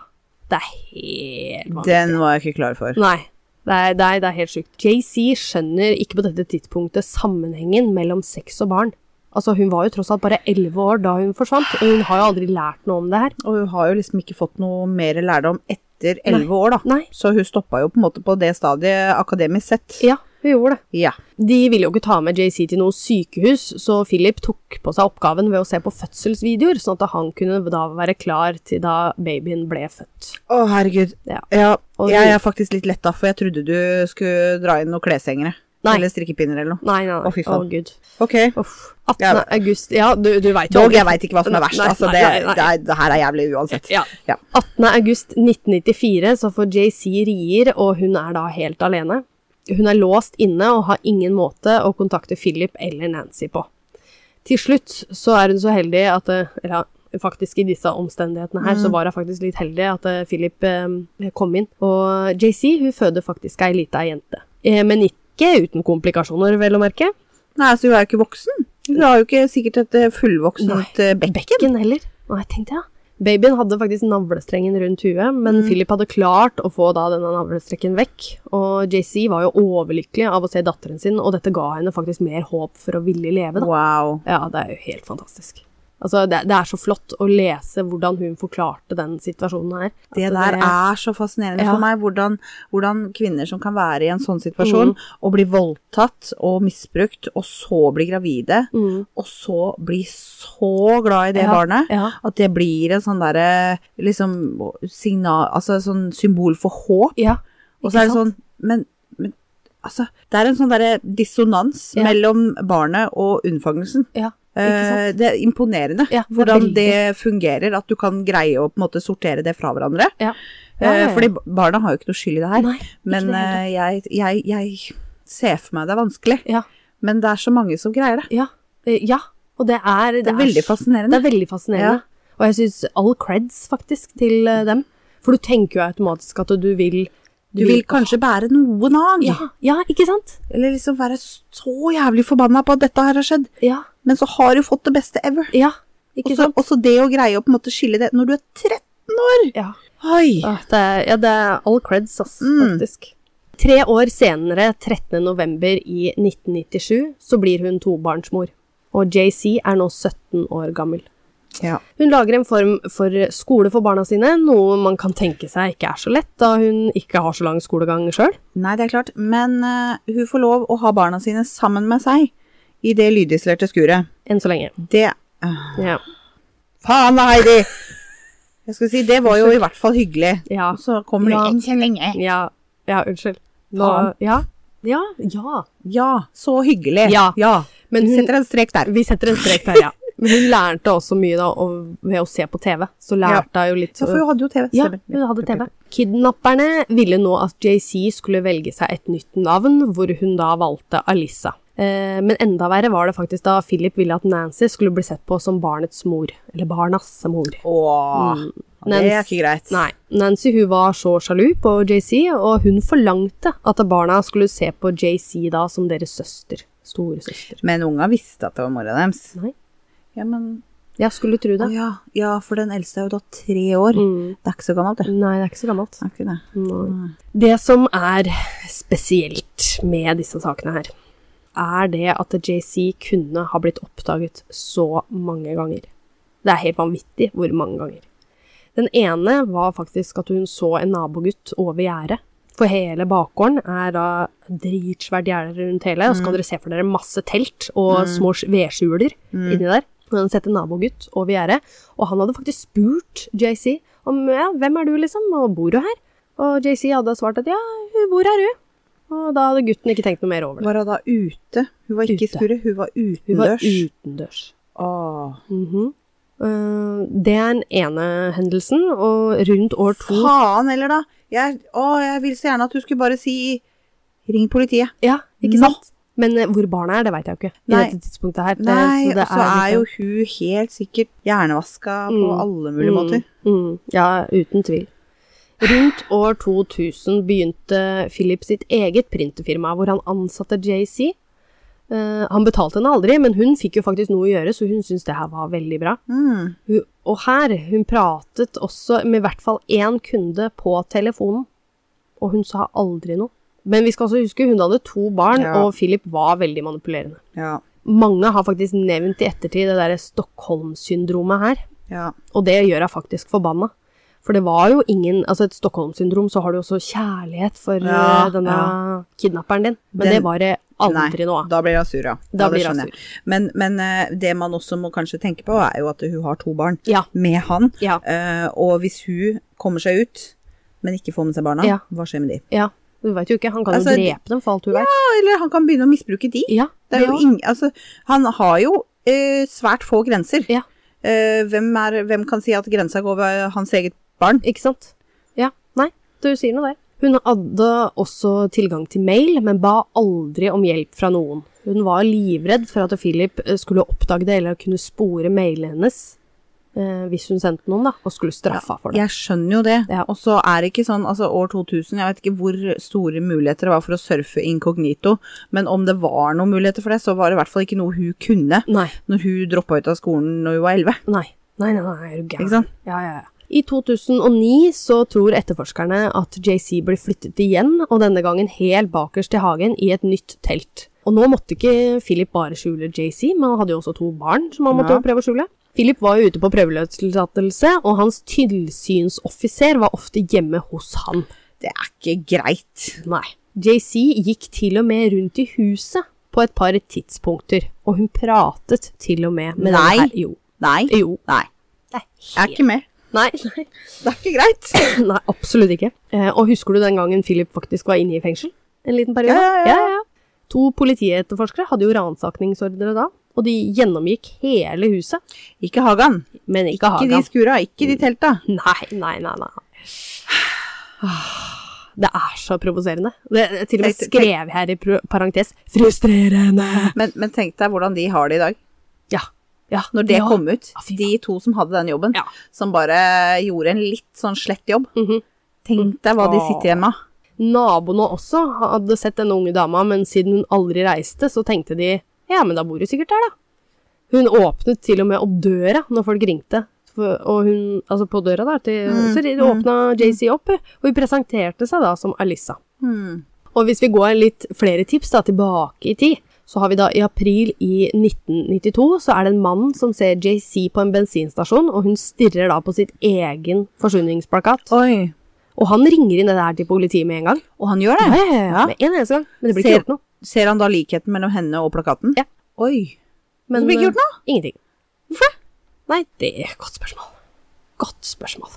Speaker 1: Det er helt vanlig.
Speaker 2: Den var jeg ikke klar for.
Speaker 1: Nei. Det er, det, er, det er helt sjukt. JC skjønner ikke på dette tidspunktet sammenhengen mellom sex og barn. Altså, hun var jo tross alt bare 11 år da hun forsvant, og hun har jo aldri lært noe om det her.
Speaker 2: Og hun har jo liksom ikke fått noe mer lærdom etter 11 år, da.
Speaker 1: Nei.
Speaker 2: Så hun stoppa jo på en måte på det stadiet akademisk sett.
Speaker 1: Ja, hun gjorde det.
Speaker 2: Ja.
Speaker 1: De ville jo ikke ta med JC til noe sykehus, så Philip tok på seg oppgaven ved å se på fødselsvideoer, sånn at han kunne da være klar til da babyen ble født.
Speaker 2: Å, herregud.
Speaker 1: Ja.
Speaker 2: Ja,
Speaker 1: Og
Speaker 2: jeg
Speaker 1: hun-
Speaker 2: er faktisk litt letta, for jeg trodde du skulle dra inn noen kleshengere.
Speaker 1: Nei.
Speaker 2: Eller strikkepinner eller noe.
Speaker 1: Nei, nei, nei.
Speaker 2: Å, fy faen.
Speaker 1: Å, Gud.
Speaker 2: Ok.
Speaker 1: Uff. 18.
Speaker 2: Ja.
Speaker 1: august Ja, du, du veit jo
Speaker 2: Dog, jeg veit ikke hva som er verst.
Speaker 1: Nei,
Speaker 2: Altså,
Speaker 1: nei,
Speaker 2: det,
Speaker 1: nei, nei.
Speaker 2: det, er, det her er jævlig uansett.
Speaker 1: Ja.
Speaker 2: Ja.
Speaker 1: 18. august 1994 så får JC rier, og hun er da helt alene. Hun er låst inne og har ingen måte å kontakte Philip eller Nancy på. Til slutt så er hun så heldig at eh, Eller ja, faktisk i disse omstendighetene her, så var hun faktisk litt heldig at eh, Philip eh, kom inn. Og JC, hun føder faktisk ei lita jente. Eh, Men ikke uten komplikasjoner, vel å merke.
Speaker 2: Nei, altså, hun er jo ikke voksen. Hun har jo ikke sikkert et eh, fullvoksent eh, bekken.
Speaker 1: Bekken heller. Nei, tenkte jeg. Babyen hadde faktisk navlestrengen rundt huet, men
Speaker 2: Mm.
Speaker 1: Philip hadde klart å få da denne navlestrekken vekk, og JC var jo overlykkelig av å se datteren sin, og dette ga henne faktisk mer håp for å ville leve, da.
Speaker 2: Wow.
Speaker 1: Ja, det er jo helt fantastisk. Altså, det, det er så flott å lese hvordan hun forklarte den situasjonen her. At
Speaker 2: Det der er så fascinerende
Speaker 1: Altså, Ja.
Speaker 2: for meg, hvordan, hvordan kvinner som kan være i en sånn situasjon,
Speaker 1: Mm.
Speaker 2: og bli voldtatt og misbrukt, og så bli gravide,
Speaker 1: Mm.
Speaker 2: og så bli så glad i det
Speaker 1: Ja,
Speaker 2: barnet,
Speaker 1: ja.
Speaker 2: at det blir en sånn derre liksom signal, altså sånn symbol for håp.
Speaker 1: Ja.
Speaker 2: Og så er
Speaker 1: ikke
Speaker 2: det
Speaker 1: sant?
Speaker 2: sånn, men, men altså, det er en sånn derre dissonans
Speaker 1: Ja.
Speaker 2: mellom barnet og unnfangelsen.
Speaker 1: Ja, ikke sant?
Speaker 2: Eh, Det er imponerende
Speaker 1: Ja, det er
Speaker 2: hvordan
Speaker 1: veldig.
Speaker 2: det fungerer, at du kan greie å på en måte sortere det fra hverandre.
Speaker 1: Ja. Ja, ja,
Speaker 2: Eh,
Speaker 1: ja.
Speaker 2: Fordi ba- barna har jo ikke noe skyld i det her.
Speaker 1: Nei, ikke
Speaker 2: men
Speaker 1: det hele
Speaker 2: eh, jeg, jeg, jeg ser for meg det er vanskelig.
Speaker 1: Ja.
Speaker 2: Men det er så mange som greier det.
Speaker 1: Ja. Eh, ja. Og det er
Speaker 2: Det er veldig
Speaker 1: så-
Speaker 2: fascinerende.
Speaker 1: Det er veldig fascinerende.
Speaker 2: Ja.
Speaker 1: Og jeg syns all creds faktisk til eh, dem. For du tenker jo automatisk at du vil
Speaker 2: Du vil kanskje bære noen av
Speaker 1: ja, ja, ikke sant?
Speaker 2: Eller liksom være så jævlig forbanna på at dette her har skjedd.
Speaker 1: Ja.
Speaker 2: Men så har du fått det beste ever.
Speaker 1: ja ikke
Speaker 2: Også,
Speaker 1: sant?
Speaker 2: også det å greie å på en måte skille det når du er 13 år.
Speaker 1: Ja.
Speaker 2: Oi.
Speaker 1: Ah, det er, ja, det er all creds, ass,
Speaker 2: Mm.
Speaker 1: faktisk. Tre år senere, 13. november i 1997, så blir hun tobarnsmor. Og JC er nå 17 år gammel.
Speaker 2: Ja.
Speaker 1: Hun lager en form for skole for barna sine, noe man kan tenke seg ikke er så lett, da hun ikke har så lang skolegang sjøl.
Speaker 2: Nei, det er klart. Men eh, hun får lov å ha barna sine sammen med seg i det lydisolerte skuret.
Speaker 1: Enn så lenge.
Speaker 2: Det øh,
Speaker 1: Ja.
Speaker 2: Faen da, eh, Heidi! Jeg skulle si, det var jo i hvert fall hyggelig.
Speaker 1: Ja.
Speaker 2: Og så kommer det
Speaker 1: Ja.
Speaker 2: en så lenge.
Speaker 1: Ja, ja unnskyld. Nå,
Speaker 2: Faen.
Speaker 1: ja. Ja, ja.
Speaker 2: Ja, så hyggelig.
Speaker 1: Ja. Men
Speaker 2: Vi
Speaker 1: hun,
Speaker 2: setter en strek der.
Speaker 1: vi setter en strek der, ja. Men hun lærte også mye da, og, ved å se på TV. Så lærte hun jo litt
Speaker 2: Ja, for hun hadde jo TV.
Speaker 1: Ja,
Speaker 2: stemmer.
Speaker 1: hun hadde TV. Kidnapperne ville nå at JC skulle velge seg et nytt navn, hvor hun da valgte Alissa. Eh, men enda verre var det faktisk da Philip ville at Nancy skulle bli sett på som barnets mor. Eller barnas mor.
Speaker 2: Åh,
Speaker 1: Mm.
Speaker 2: det er
Speaker 1: Nancy-
Speaker 2: ikke greit.
Speaker 1: Nei. Nancy hun var så sjalu på JC, og hun forlangte at barna skulle se på JC da som deres søster. Storesøster.
Speaker 2: Men unga visste at det var mora deres.
Speaker 1: Nei.
Speaker 2: Ja, men...
Speaker 1: Jeg skulle tro
Speaker 2: Å
Speaker 1: det.
Speaker 2: ja. ja, for den eldste er jo da tre år.
Speaker 1: Mm.
Speaker 2: Det er ikke så gammelt, det.
Speaker 1: Nei, det er ikke så gammelt.
Speaker 2: Det er ikke det.
Speaker 1: Nei. Det som er spesielt med disse sakene her, er det at JC kunne ha blitt oppdaget så mange ganger. Det er helt vanvittig hvor mange ganger. Den ene var faktisk at hun så en nabogutt over gjerdet. For hele bakgården er da dritsvært gjerde rundt hele, og så kan dere se for dere masse telt og små s- vedskjuler inni der. Og hun setter nabogutt over gjerdet, og han hadde faktisk spurt JC om ja, hvem er du liksom, og bor du her? Og JC hadde svart at ja, hun bor her, hun. Og da hadde gutten ikke tenkt noe mer over det.
Speaker 2: Var hun da ute? Hun var ikke i
Speaker 1: Ute.
Speaker 2: skuret, hun var
Speaker 1: Hun var
Speaker 2: utendørs.
Speaker 1: utendørs.
Speaker 2: Åh.
Speaker 1: Mhm. Eh, det er den ene hendelsen, og rundt år to
Speaker 2: Faen heller, da. Jeg, å, jeg vil så gjerne at du skulle bare si Ring politiet.
Speaker 1: Ja, ikke
Speaker 2: Nå.
Speaker 1: sant? Men eh, hvor barna er, det veit jeg jo ikke. I
Speaker 2: Nei.
Speaker 1: dette tidspunktet her. Det-
Speaker 2: Nei, og
Speaker 1: Eh, det
Speaker 2: så er jo
Speaker 1: litt-
Speaker 2: hun helt sikkert hjernevaska på
Speaker 1: Mm.
Speaker 2: alle mulige måter.
Speaker 1: Mm, ja, uten tvil. Rundt år 2000 begynte Philip sitt eget printerfirma, hvor han ansatte JC. Eh, han betalte henne aldri, men hun fikk jo faktisk noe å gjøre, så hun syntes det her var veldig bra.
Speaker 2: Mm.
Speaker 1: Hun, og her, hun pratet også med i hvert fall én kunde på telefonen, og hun sa aldri noe. Men vi skal også huske, hun hadde to barn,
Speaker 2: Ja.
Speaker 1: og Philip var veldig manipulerende.
Speaker 2: Ja.
Speaker 1: Mange har faktisk nevnt i ettertid det derre Stockholm-syndromet her,
Speaker 2: ja.
Speaker 1: og det gjør jeg faktisk forbanna. For det var jo ingen Altså, et Stockholm-syndrom, så har du også kjærlighet for
Speaker 2: Ja,
Speaker 1: eh, denne kidnapperen din, men
Speaker 2: Den-
Speaker 1: det var det aldri noe av.
Speaker 2: Da blir hun sur, ja.
Speaker 1: Da
Speaker 2: Ja, det
Speaker 1: blir hun
Speaker 2: skjønner jeg. Men, men eh, det man også må kanskje tenke på, er jo at hun har to barn
Speaker 1: altså- Ja.
Speaker 2: med han.
Speaker 1: Ja.
Speaker 2: Eh, og hvis hun kommer seg ut, men ikke får med seg barna,
Speaker 1: Ja.
Speaker 2: hva skjer med de?
Speaker 1: ja. Du veit jo ikke. Han kan
Speaker 2: Altså,
Speaker 1: jo drepe dem, for alt du veit.
Speaker 2: Ja, eller han kan begynne å misbruke de.
Speaker 1: Ja,
Speaker 2: Det er jo
Speaker 1: ja.
Speaker 2: ingen, altså, han har jo eh, svært få grenser.
Speaker 1: Ja.
Speaker 2: Eh, hvem, er, hvem kan si at grensa går ved hans eget barn?
Speaker 1: Ikke sant? Ja. Nei, du sier noe der. Hun hadde også tilgang til mail, men ba aldri om hjelp fra noen. Hun var livredd for at Philip eh, skulle oppdage det, eller kunne spore mailen hennes eh, hvis hun sendte noen, da, og skulle straffa for det.
Speaker 2: Jeg skjønner jo det.
Speaker 1: Ja.
Speaker 2: Og så er det ikke sånn, altså år 2000, jeg vet ikke hvor store muligheter det var for å surfe inkognito, men om det var noen muligheter for det, så var det i hvert fall ikke noe hun kunne
Speaker 1: Nei,
Speaker 2: når hun droppa ut av skolen når hun var 11.
Speaker 1: nei, nei, nei, nei, er du
Speaker 2: Ikke
Speaker 1: gæren?
Speaker 2: sant?
Speaker 1: Ja, ja, ja. I 2009 så tror etterforskerne at JC blir flyttet igjen, og denne gangen helt bakerst til hagen i et nytt telt. Og nå måtte ikke Philip bare skjule JC, men han hadde jo også to barn som han måtte
Speaker 2: Ja.
Speaker 1: prøve å skjule. Philip var jo ute på prøveløslatelse, og hans tilsynsoffiser var ofte hjemme hos han.
Speaker 2: Det er ikke greit.
Speaker 1: Nei. JC gikk til og med rundt i huset på et par tidspunkter, og hun pratet til og med med
Speaker 2: Nei.
Speaker 1: denne her. Jo.
Speaker 2: Nei.
Speaker 1: Jo.
Speaker 2: Nei.
Speaker 1: Det er
Speaker 2: Jeg er ikke med.
Speaker 1: Nei, nei.
Speaker 2: Det er ikke greit.
Speaker 1: Nei, absolutt ikke. Eh, og husker du den gangen Philip faktisk var inne i fengsel? En liten periode?
Speaker 2: Ja, ja, ja.
Speaker 1: To politietterforskere hadde jo ransakningsordre da, og de gjennomgikk hele huset,
Speaker 2: Ikke Hagan.
Speaker 1: men ikke,
Speaker 2: Ikke de
Speaker 1: hagen.
Speaker 2: skura, ikke de telta.
Speaker 1: Nei, nei, nei, nei. Ah, Det er så provoserende. Det jeg til og med
Speaker 2: Tenk- tenk-
Speaker 1: skrev her i pro- parentes 'frustrerende'.
Speaker 2: Men, men tenk deg hvordan de har det i dag.
Speaker 1: Ja. ja
Speaker 2: Når det
Speaker 1: ja.
Speaker 2: kom ut,
Speaker 1: Ja, fy
Speaker 2: de to som hadde den jobben,
Speaker 1: Ja.
Speaker 2: som bare gjorde en litt sånn slett jobb.
Speaker 1: Mhm.
Speaker 2: Tenk deg hva de
Speaker 1: Åh.
Speaker 2: sitter igjen med.
Speaker 1: Naboene også hadde sett denne unge dama, men siden hun aldri reiste, så tenkte de ja, men da bor hun sikkert der, da. Hun åpnet til og med opp døra når folk ringte. For, og hun, altså på døra der, til, så ri- åpna JC opp, hun, og hun presenterte seg da som Alissa.
Speaker 2: Hmm.
Speaker 1: Og hvis vi går litt flere tips da, tilbake i tid, så har vi da i april i 1992, så er det en mann som ser JC på en bensinstasjon, og hun stirrer da på sitt egen forsvinningsplakat.
Speaker 2: Oi.
Speaker 1: Og han ringer inn det der til politiet med en gang.
Speaker 2: Og han gjør det.
Speaker 1: Ja, ja, ja, ja.
Speaker 2: Ja.
Speaker 1: Med en eneste gang. Men det blir
Speaker 2: Ser-
Speaker 1: ikke gjort noe.
Speaker 2: Ser han da likheten mellom henne og plakaten?
Speaker 1: Ja.
Speaker 2: Oi.
Speaker 1: Men,
Speaker 2: det blir ikke gjort
Speaker 1: eh, Ingenting. Hvorfor det? Nei, det er et godt spørsmål. Godt spørsmål.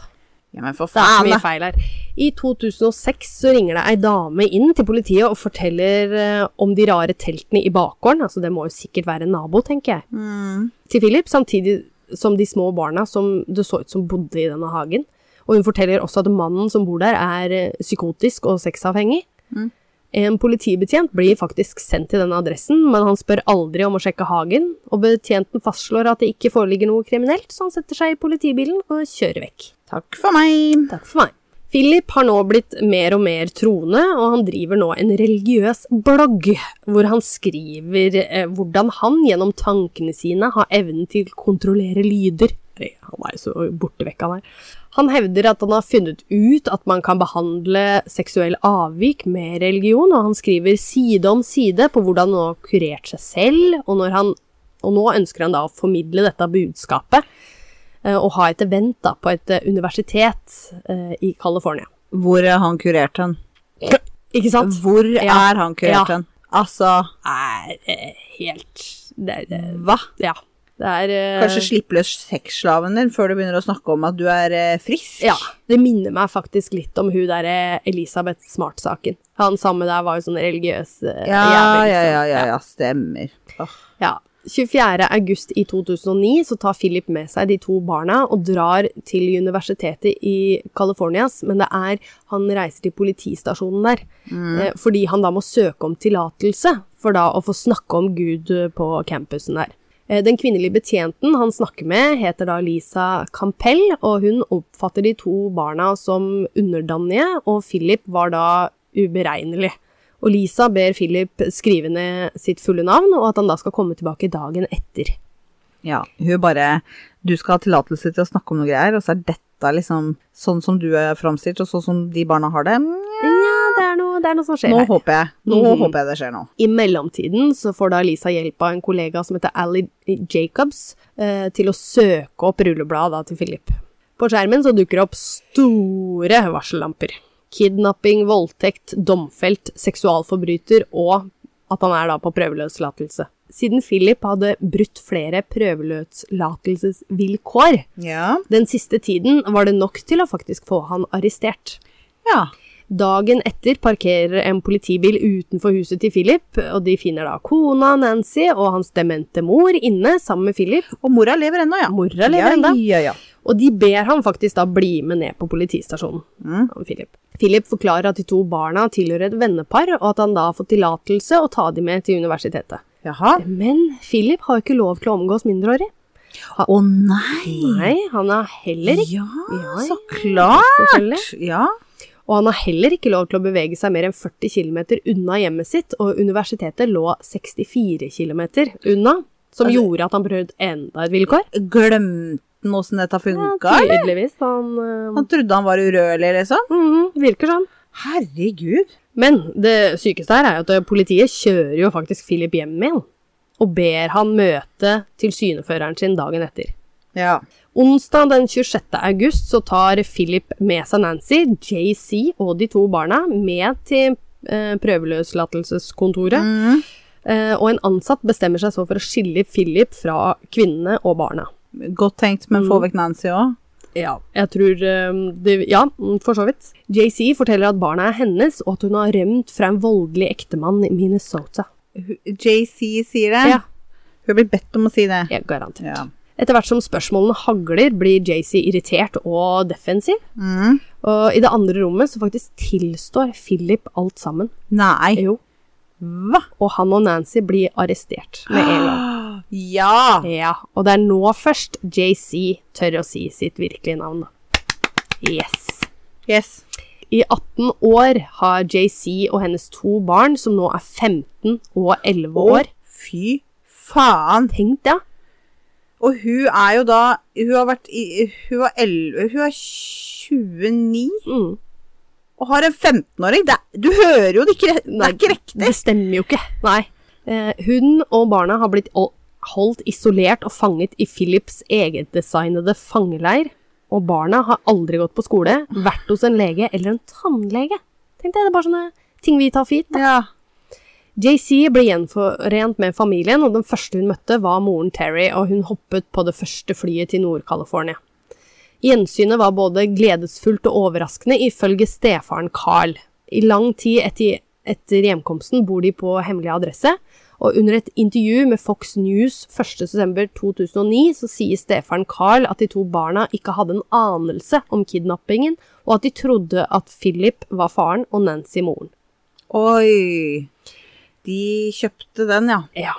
Speaker 2: Ja, men for
Speaker 1: Det er så
Speaker 2: faen,
Speaker 1: mye
Speaker 2: da.
Speaker 1: feil her. I 2006 så ringer det ei dame inn til politiet og forteller eh, om de rare teltene i bakgården, altså det må jo sikkert være en nabo, tenker jeg,
Speaker 2: Mm.
Speaker 1: til Philip, samtidig som de små barna som det så ut som bodde i denne hagen. Og hun forteller også at mannen som bor der er eh, psykotisk og sexavhengig. En politibetjent blir faktisk sendt til denne adressen, men han spør aldri om å sjekke hagen, og betjenten fastslår at det ikke foreligger noe kriminelt, så han setter seg i politibilen og kjører vekk.
Speaker 2: Takk for meg.
Speaker 1: Takk for meg. Philip har nå blitt mer og mer troende, og han driver nå en religiøs blogg, hvor han skriver eh, hvordan han gjennom tankene sine har evnen til å kontrollere lyder. Herre, Han er jo så borte vekk, han her. Han hevder at han har funnet ut at man kan behandle seksuell avvik med religion, og han skriver side om side på hvordan han har kurert seg selv, og, når han, og nå ønsker han da å formidle dette budskapet eh, og ha et event da, på et eh, universitet eh, i California.
Speaker 2: Hvor er han kurert hen?
Speaker 1: Ikke sant?
Speaker 2: Hvor
Speaker 1: Ja.
Speaker 2: er han
Speaker 1: Ja.
Speaker 2: kurert hen? Altså,
Speaker 1: Er eh, helt det, er, eh,
Speaker 2: hva?
Speaker 1: Ja. Det er eh,
Speaker 2: Kanskje slipp løs sexslaven din før du begynner å snakke om at du er eh, frisk?
Speaker 1: Ja. Det minner meg faktisk litt om hun derre Elisabeth Smart-saken. Han samme der var jo sånn religiøs eh,
Speaker 2: Ja,
Speaker 1: jævel,
Speaker 2: ja,
Speaker 1: liksom.
Speaker 2: ja, ja, ja, stemmer. Åh.
Speaker 1: Ja. 24. august i 2009 så tar Philip med seg de to barna og drar til universitetet i Californias, men det er han reiser til politistasjonen der, eh, fordi han da må søke om tillatelse for da å få snakke om Gud eh, på campusen der. Eh, Den kvinnelige betjenten han snakker med heter da Lisa Campell, og hun oppfatter de to barna som underdanige, og Philip var da uberegnelig. Og Lisa ber Philip skrive ned sitt fulle navn, og at han da skal komme tilbake dagen etter.
Speaker 2: Ja, hun bare Du skal ha tillatelse til å snakke om noe greier, og så er dette liksom sånn som du er framstilt, og sånn som de barna har det. mm,
Speaker 1: Ja, det er noe, det er noe som skjer
Speaker 2: Nå
Speaker 1: her.
Speaker 2: håper jeg. Nå
Speaker 1: Mhm.
Speaker 2: håper jeg det skjer nå.
Speaker 1: I mellomtiden så får da Lisa hjelp av en kollega som heter Ally Jacobs, eh, til å søke opp rullebladet da til Philip. På skjermen så dukker det opp store varsellamper. Kidnapping, voldtekt, domfelt, seksualforbryter og at han er da på prøveløslatelse. Siden Philip hadde brutt flere prøveløslatelsesvilkår,
Speaker 2: Ja.
Speaker 1: Den siste tiden var det nok til å faktisk få han arrestert.
Speaker 2: ja.
Speaker 1: Dagen etter parkerer en politibil utenfor huset til Philip, og de finner da kona Nancy og hans demente mor inne sammen med Philip,
Speaker 2: Og mora lever ennå, ja.
Speaker 1: Mora lever ennå.
Speaker 2: Ja, ja, ja.
Speaker 1: og de ber ham faktisk da bli med ned på politistasjonen.
Speaker 2: Mm.
Speaker 1: han Philip. Philip forklarer at de to barna tilhører et vennepar, og at han da har fått tillatelse å ta dem med til universitetet.
Speaker 2: Jaha.
Speaker 1: Men Philip har jo ikke lov til å omgås mindreårige.
Speaker 2: Å nei!
Speaker 1: Nei, han har heller ikke
Speaker 2: Ja,
Speaker 1: Ja,
Speaker 2: så
Speaker 1: ja, selvfølgelig.
Speaker 2: klart! Ja.
Speaker 1: og han har heller ikke lov til å bevege seg mer enn 40 km unna hjemmet sitt, og universitetet lå 64 km unna, som
Speaker 2: Altså-
Speaker 1: gjorde at han prøvde enda et vilkår.
Speaker 2: Glemte han åssen dette funka?
Speaker 1: Tydeligvis. Han øh,
Speaker 2: han trodde han var urørlig, liksom?
Speaker 1: mhm, virker sånn.
Speaker 2: Herregud.
Speaker 1: Men det sykeste her er jo at politiet kjører jo faktisk Philip hjem igjen, og ber han møte tilsyneføreren sin dagen etter.
Speaker 2: Ja.
Speaker 1: Onsdag den 26. august så tar Philip med seg Nancy, JC og de to barna med til eh, prøveløslatelseskontoret.
Speaker 2: Mm.
Speaker 1: Eh, og en ansatt bestemmer seg så for å skille Philip fra kvinnene og barna.
Speaker 2: Godt tenkt, men få vekk Nancy òg.
Speaker 1: Ja, jeg tror eh, det, Ja, mm, for så vidt. JC forteller at barna er hennes, og at hun har rømt fra en voldelig ektemann i Minnesota.
Speaker 2: JC sier det.
Speaker 1: Ja,
Speaker 2: Hun blir bedt om å si det.
Speaker 1: jeg garantert.
Speaker 2: Ja.
Speaker 1: Etter hvert som spørsmålene hagler, blir JC irritert og defensiv.
Speaker 2: Mm.
Speaker 1: Og i det andre rommet så faktisk tilstår Philip alt sammen.
Speaker 2: Nei.
Speaker 1: Jo.
Speaker 2: Hva?
Speaker 1: Og han og Nancy blir arrestert med en gang.
Speaker 2: Ja!
Speaker 1: Ja, og det er nå først JC tør å si sitt virkelige navn. Yes.
Speaker 2: Yes.
Speaker 1: I 18 år har JC og hennes to barn, som nå er 15 og 11 år
Speaker 2: Fy faen.
Speaker 1: Tenk det!
Speaker 2: Og hun er jo da Hun har vært i Hun var 11 Hun er 29
Speaker 1: Mm.
Speaker 2: og har en 15-åring. Det er- Du hører jo det ikke re- Det
Speaker 1: Nei,
Speaker 2: er ikke riktig.
Speaker 1: Det stemmer jo ikke. Nei. Eh, hun og barna har blitt ol- holdt isolert og fanget i Philips egendesignede fangeleir. Og barna har aldri gått på skole, vært hos en lege eller en tannlege. Tenkte jeg, Det er bare sånne ting vi tar for gitt. da.
Speaker 2: Ja.
Speaker 1: JC ble gjenforent med familien, og den første hun møtte, var moren Terry, og hun hoppet på det første flyet til Nord-California. Gjensynet var både gledesfullt og overraskende, ifølge stefaren Carl. I lang tid etter, etter hjemkomsten bor de på hemmelig adresse, og under et intervju med Fox News 1.12.2009 så sier stefaren Carl at de to barna ikke hadde en anelse om kidnappingen, og at de trodde at Philip var faren og Nancy moren.
Speaker 2: Oi! De kjøpte den, ja.
Speaker 1: Ja.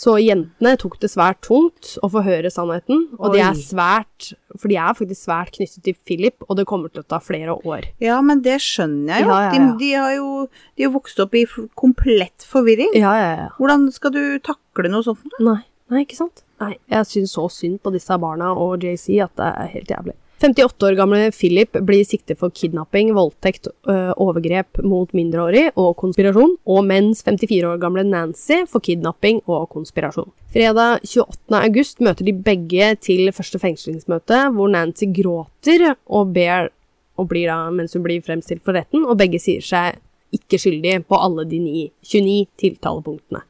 Speaker 1: Så jentene tok det svært tungt å få høre sannheten, og de
Speaker 2: Oi.
Speaker 1: er svært, for de er faktisk svært knyttet til Philip, og det kommer til å ta flere år.
Speaker 2: Ja, men det skjønner jeg jo.
Speaker 1: Ja, ja, ja.
Speaker 2: De, de har jo de har vokst opp i f- komplett forvirring.
Speaker 1: Ja, ja, ja.
Speaker 2: Hvordan skal du takle noe sånt?
Speaker 1: Nei, nei, ikke sant? Nei, jeg synes så synd på disse barna og JC at det er helt jævlig. 58 år gamle Philip blir siktet for kidnapping, voldtekt, øh, overgrep mot mindreårig og konspirasjon, og mens 54 år gamle Nancy for kidnapping og konspirasjon. Fredag 28. august møter de begge til første fengslingsmøte, hvor Nancy gråter og ber og blir da, mens hun blir fremstilt for retten, og begge sier seg ikke skyldig på alle de ni, 29 tiltalepunktene.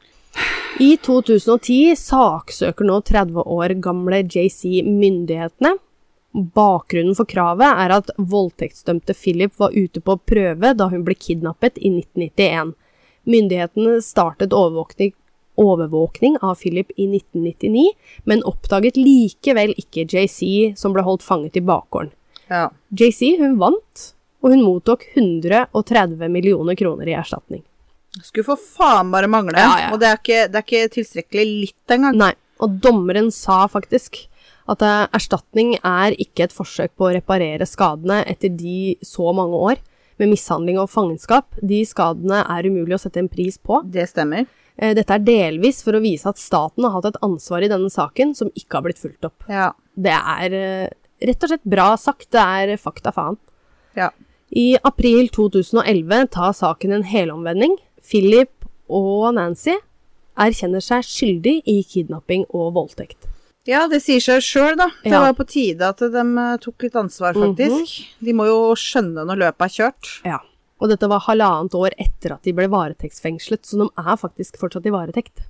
Speaker 1: I 2010 saksøker nå 30 år gamle JC myndighetene. Bakgrunnen for kravet er at voldtektsdømte Philip var ute på prøve da hun ble kidnappet i 1991. Myndighetene startet overvåkning, overvåkning av Philip i 1999, men oppdaget likevel ikke JC som ble holdt fanget i bakgården.
Speaker 2: Ja.
Speaker 1: JC hun vant, og hun mottok 130 millioner kroner i erstatning.
Speaker 2: Skulle for faen bare mangle.
Speaker 1: Ja, ja.
Speaker 2: Og det er, ikke, det er ikke tilstrekkelig litt engang.
Speaker 1: Nei, og dommeren sa faktisk at eh, erstatning er ikke et forsøk på å reparere skadene etter de så mange år med mishandling og fangenskap. De skadene er umulig å sette en pris på.
Speaker 2: Det stemmer.
Speaker 1: Eh, Dette er delvis for å vise at staten har hatt et ansvar i denne saken som ikke har blitt fulgt opp.
Speaker 2: Ja.
Speaker 1: Det er eh, rett og slett bra sagt, det er fakta faen.
Speaker 2: ja.
Speaker 1: I april 2011 tar saken en helomvending. Philip og Nancy erkjenner seg skyldig i kidnapping og voldtekt.
Speaker 2: Ja, det sier seg sjøl, da. Det
Speaker 1: Ja. Mhm.
Speaker 2: var på tide at de eh, tok litt ansvar, faktisk. De må jo skjønne når løpet er kjørt.
Speaker 1: Ja. Og dette var halvannet år etter at de ble varetektsfengslet, så de er faktisk fortsatt i varetekt.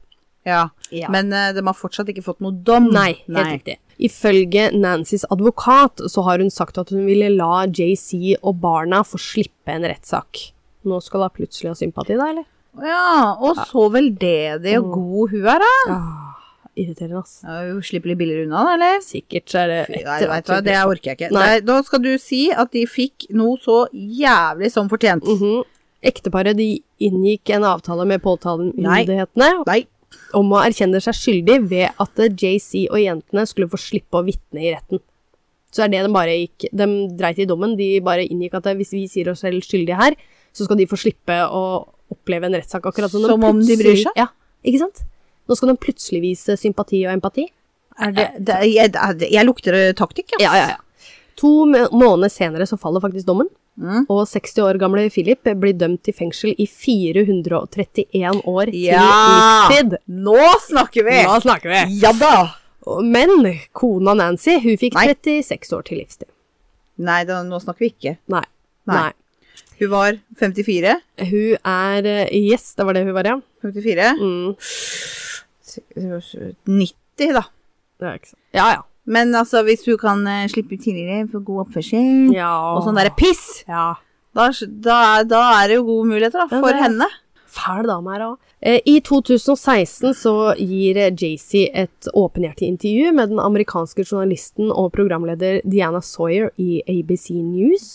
Speaker 2: Ja.
Speaker 1: Ja.
Speaker 2: Men eh, de har fortsatt ikke fått noe dom.
Speaker 1: Nei, helt riktig. Ifølge Nancys advokat så har hun sagt at hun ville la JC og barna få slippe en rettssak. Nå skal hun plutselig ha sympati, da, eller?
Speaker 2: Ja, og så veldedig
Speaker 1: Mhm.
Speaker 2: og god hun er, da.
Speaker 1: Ah. Irriterende, ass.
Speaker 2: Ja, hun slipper litt billigere unna, da, eller?
Speaker 1: Sikkert så er det
Speaker 2: Nei,
Speaker 1: etter
Speaker 2: vet
Speaker 1: at
Speaker 2: du hva,
Speaker 1: hun-
Speaker 2: det orker jeg ikke.
Speaker 1: Nei.
Speaker 2: Nei, da skal du si at de fikk noe så jævlig som fortjent.
Speaker 1: Mhm. Ekteparet de inngikk en avtale med påtalemyndighetene
Speaker 2: Nei.
Speaker 1: om å erkjenne seg skyldig ved at JC og jentene skulle få slippe å vitne i retten. Så det er det de bare gikk De dreit i dommen. De bare inngikk at hvis vi sier oss selv skyldige her, så skal de få slippe å oppleve en rettssak. Akkurat som,
Speaker 2: Som om de bryr
Speaker 1: plutselig-
Speaker 2: seg?
Speaker 1: Ja, ikke sant? Nå skal de plutselig vise sympati og empati.
Speaker 2: Er det, det, er- jeg, det er- det, jeg lukter eh, taktikk,
Speaker 1: Ja, ja, ja. To må- måneder senere så faller faktisk dommen,
Speaker 2: Mm.
Speaker 1: og 60 år gamle Philip blir dømt til fengsel i 431 år til
Speaker 2: Ja!
Speaker 1: livstid.
Speaker 2: Nå snakker vi!
Speaker 1: Nå snakker vi!
Speaker 2: Ja da!
Speaker 1: Men kona Nancy, hun fikk
Speaker 2: Nei.
Speaker 1: 36 år til livstid.
Speaker 2: Nei, da, nå snakker vi ikke.
Speaker 1: Nei. Nei.
Speaker 2: Nei. Hun var 54.
Speaker 1: Hun er eh, Yes, det var det hun var, ja.
Speaker 2: 54.
Speaker 1: Mm.
Speaker 2: 90, da.
Speaker 1: Det er ikke sant. Ja, ja.
Speaker 2: Men altså, hvis hun kan eh, slippe ut tidligere for god oppførsel
Speaker 1: ja.
Speaker 2: og sånn derre piss,
Speaker 1: Ja.
Speaker 2: da, da, er- da er det jo gode muligheter da,
Speaker 1: Ja,
Speaker 2: for
Speaker 1: det er-
Speaker 2: henne.
Speaker 1: Fæl dame her òg. I 2016 så gir JC et åpenhjertig intervju med den amerikanske journalisten og programleder Diana Sawyer i ABC News.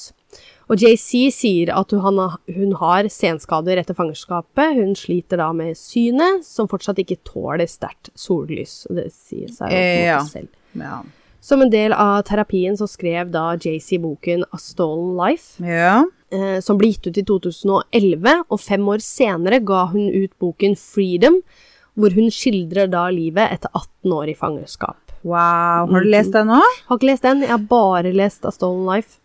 Speaker 1: Og JC sier at hun, han har- hun har senskader etter fangerskapet. Hun sliter da med synet, som fortsatt ikke tåler sterkt sollys. Og det sier seg jo på en
Speaker 2: Ja.
Speaker 1: måte selv.
Speaker 2: Ja.
Speaker 1: Som en del av terapien så skrev da JC boken A Stolen Life
Speaker 2: ja.
Speaker 1: eh, som ble gitt ut i 2011, og fem år senere ga hun ut boken Freedom, hvor hun skildrer da livet etter 18 år i fangenskap.
Speaker 2: Wow. Har du lest den nå?
Speaker 1: Har ikke lest den, jeg har bare lest A Stolen Life.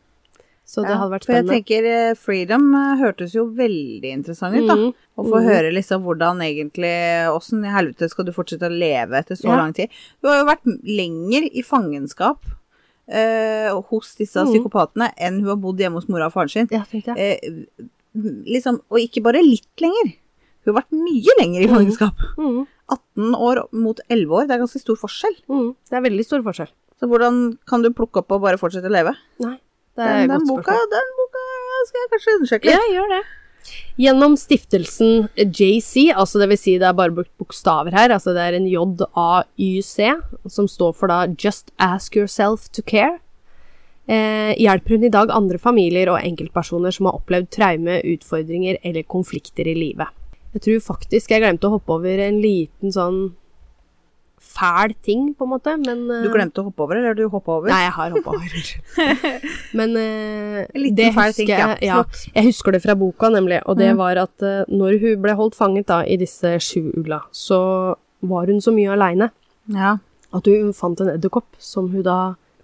Speaker 1: Så det
Speaker 2: Ja,
Speaker 1: hadde vært
Speaker 2: for jeg
Speaker 1: spennende.
Speaker 2: tenker eh, Freedom eh, hørtes jo veldig interessant ut, da.
Speaker 1: Mhm.
Speaker 2: Å få
Speaker 1: Mhm.
Speaker 2: høre liksom hvordan egentlig Åssen i helvete skal du fortsette å leve etter så
Speaker 1: Ja.
Speaker 2: lang tid? Du har jo vært lenger i fangenskap eh, hos disse
Speaker 1: Mhm.
Speaker 2: psykopatene enn hun har bodd hjemme hos mora og faren sin.
Speaker 1: Ja, tenkte jeg.
Speaker 2: Eh, liksom, og ikke bare litt lenger. Hun har vært mye lenger i fangenskap.
Speaker 1: Mhm.
Speaker 2: 18 år mot 11 år, det er ganske stor forskjell.
Speaker 1: Mhm. Det mm. er veldig stor forskjell.
Speaker 2: Så hvordan kan du plukke opp og bare fortsette å leve?
Speaker 1: Nei, det er et
Speaker 2: Den, den,
Speaker 1: godt
Speaker 2: boka,
Speaker 1: spørsmål.
Speaker 2: den boka skal jeg kanskje undersøke.
Speaker 1: Ja, gjør det. Gjennom stiftelsen JC, altså det vil si det er bare brukt bokstaver her, altså det er en J-A-Y-C, som står for da Just Ask Yourself to Care, eh, hjelper hun i dag andre familier og enkeltpersoner som har opplevd traume, utfordringer eller konflikter i livet. Jeg tror faktisk jeg glemte å hoppe over en liten sånn fæl ting, på en måte, men eh,
Speaker 2: Du glemte å hoppe over, eller har du hoppa over?
Speaker 1: Nei, jeg har hoppa over. Men eh,
Speaker 2: En liten
Speaker 1: det
Speaker 2: fæl
Speaker 1: husker
Speaker 2: ting, ja.
Speaker 1: jeg, ja.
Speaker 2: Flott.
Speaker 1: Jeg husker det fra boka, nemlig. Og det
Speaker 2: Mm.
Speaker 1: var at eh, når hun ble holdt fanget da, i disse sju ugla, så var hun så mye aleine
Speaker 2: Ja.
Speaker 1: at hun fant en edderkopp som hun da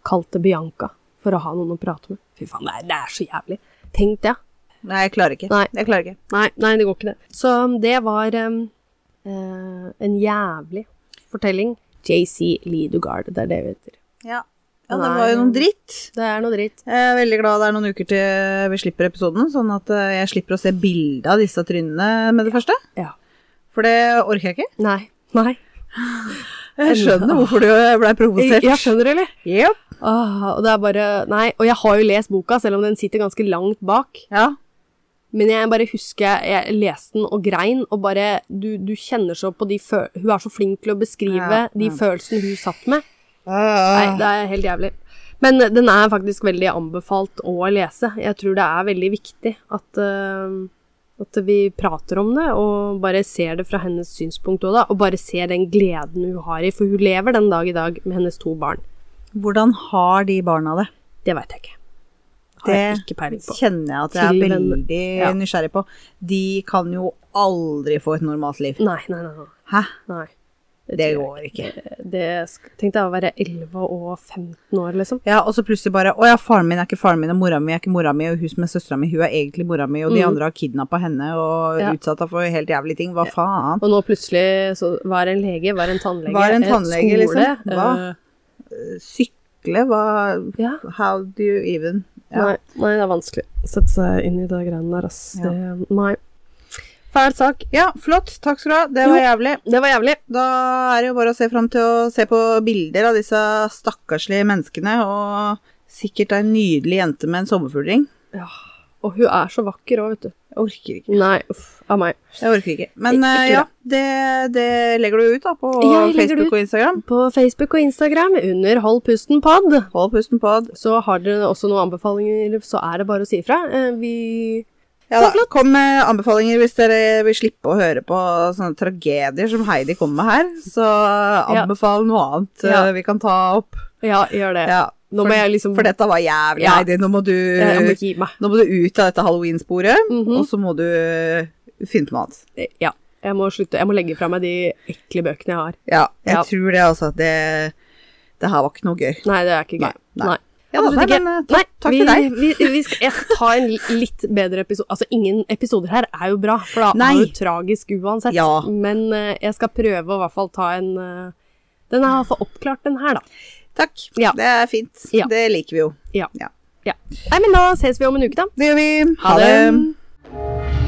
Speaker 1: kalte Bianca, for å ha noen å prate med. Fy faen, det er, det er så jævlig. Tenk det.
Speaker 2: Nei, jeg klarer ikke.
Speaker 1: Nei.
Speaker 2: Jeg klarer ikke.
Speaker 1: Nei, nei, det går ikke det. Så um, det var em, eh, en jævlig fortelling. JC Lee Dugard, det er det vi heter.
Speaker 2: Ja. ja, det
Speaker 1: Nei.
Speaker 2: var jo noe dritt.
Speaker 1: Det er noe dritt.
Speaker 2: Jeg er veldig glad det er noen uker til vi slipper episoden, sånn at eh, jeg slipper å se bilde av disse trynene med det første.
Speaker 1: Ja.
Speaker 2: For det orker jeg ikke.
Speaker 1: Nei. Nei.
Speaker 2: Jeg skjønner hvorfor du eh, ble
Speaker 1: Jeg,
Speaker 2: provosert.
Speaker 1: jeg skjønner, eller?
Speaker 2: Jep.
Speaker 1: Åh, og det er bare Nei, og jeg har jo lest boka, selv om den sitter ganske langt bak.
Speaker 2: Ja.
Speaker 1: Men jeg bare husker jeg leste den og grein, og bare Du, du kjenner så på de føl... Hun er så flink til å beskrive
Speaker 2: Ja,
Speaker 1: de
Speaker 2: ja. Ah.
Speaker 1: følelsene hun satt med. Nei,
Speaker 2: Nei,
Speaker 1: det er helt jævlig. Men eh, den er faktisk veldig anbefalt å lese. Jeg tror det er veldig viktig at, eh, at vi prater om det, og bare ser det fra hennes synspunkt òg, da. Og bare ser den gleden hun har i, for hun lever den dag i dag med hennes to barn.
Speaker 2: Hvordan har de barna det?
Speaker 1: Det veit jeg ikke. Har jeg
Speaker 2: Det
Speaker 1: ikke peiling på.
Speaker 2: Kjenner jeg at jeg
Speaker 1: Til
Speaker 2: er
Speaker 1: en-
Speaker 2: veldig
Speaker 1: ja.
Speaker 2: nysgjerrig på. De kan jo aldri få et normalt liv.
Speaker 1: Nei, nei, nei. nei.
Speaker 2: Hæ?
Speaker 1: nei.
Speaker 2: Det
Speaker 1: tror jeg
Speaker 2: går ikke.
Speaker 1: ikke. Det sk- tenkte jeg å være 11 og 15 år, liksom.
Speaker 2: Ja, og så plutselig bare Å ja, faren min er ikke faren min, og mora mi er ikke mora mi, og hun som er søstera mi, hun er egentlig mora mi, og de
Speaker 1: Mm.
Speaker 2: andre har kidnappa henne og
Speaker 1: Ja.
Speaker 2: utsatt henne for helt jævlige ting. Hva faen?
Speaker 1: Og nå plutselig så var en lege, var en tannlege,
Speaker 2: Var en tannlege,
Speaker 1: skole.
Speaker 2: liksom. Hva?
Speaker 1: eh,
Speaker 2: Sykle? Hva
Speaker 1: ja.
Speaker 2: How do you even ja.
Speaker 1: Nei, nei, det er vanskelig å sette seg inn i de greiene der, ass.
Speaker 2: Ja.
Speaker 1: Det, nei. Fæl sak.
Speaker 2: ja, flott. Takk skal du ha. Det var jævlig.
Speaker 1: Det var jævlig.
Speaker 2: Da er det jo bare å se fram til å se på bilder av disse stakkarslige menneskene, og sikkert ei nydelig jente med en sommerfuglring.
Speaker 1: Ja. Og hun er så vakker òg, vet du.
Speaker 2: Jeg orker ikke.
Speaker 1: Nei, uff av meg.
Speaker 2: Jeg orker ikke. Men
Speaker 1: Ik- ikke
Speaker 2: eh, ja, det, det legger du ut da på
Speaker 1: Jeg legger det
Speaker 2: Facebook
Speaker 1: ut.
Speaker 2: og Instagram.
Speaker 1: På Facebook og Instagram under Hold pusten pod.
Speaker 2: Hold pusten pod.
Speaker 1: Så har dere også noen anbefalinger, så er det bare å si ifra. Eh, Vi
Speaker 2: Ja,
Speaker 1: Så
Speaker 2: da. Kom med anbefalinger hvis dere vil slippe å høre på sånne tragedier som Heidi kommer med her. Så anbefal noe annet eh,
Speaker 1: Ja.
Speaker 2: vi kan ta opp.
Speaker 1: Ja, gjør det.
Speaker 2: Ja,
Speaker 1: Nå må
Speaker 2: for,
Speaker 1: jeg liksom
Speaker 2: for dette var jævlig,
Speaker 1: Ja. Eh,
Speaker 2: Heidi. Nå må du
Speaker 1: Jeg må gi meg.
Speaker 2: Nå må du ut av dette halloween-sporet,
Speaker 1: Mhm.
Speaker 2: og så må du eh, finne på noe annet.
Speaker 1: Ja. Jeg må slutte. Jeg må legge fra meg de ekle bøkene jeg har.
Speaker 2: Ja, jeg
Speaker 1: Ja.
Speaker 2: tror det, altså. at Det, det her var ikke noe gøy.
Speaker 1: Nei, det er ikke gøy.
Speaker 2: Nei, nei. Ja,
Speaker 1: Absolutt
Speaker 2: nei,
Speaker 1: ikke.
Speaker 2: men, eh, takk-
Speaker 1: Nei,
Speaker 2: takk
Speaker 1: vi,
Speaker 2: til deg.
Speaker 1: Vi, vi skal, jeg skal ta en li- litt bedre episode. Altså, ingen episoder her er jo bra, for da
Speaker 2: Nei.
Speaker 1: er det jo tragisk uansett.
Speaker 2: Ja.
Speaker 1: Men eh, jeg skal prøve å i hvert fall ta en eh, Den er i hvert fall oppklart, den her, da.
Speaker 2: Takk.
Speaker 1: Ja.
Speaker 2: Det er fint.
Speaker 1: Ja.
Speaker 2: Det liker vi jo.
Speaker 1: Ja.
Speaker 2: Ja.
Speaker 1: ja. Nei, men da ses vi om en uke, da.
Speaker 2: Det gjør vi.
Speaker 1: Ha det.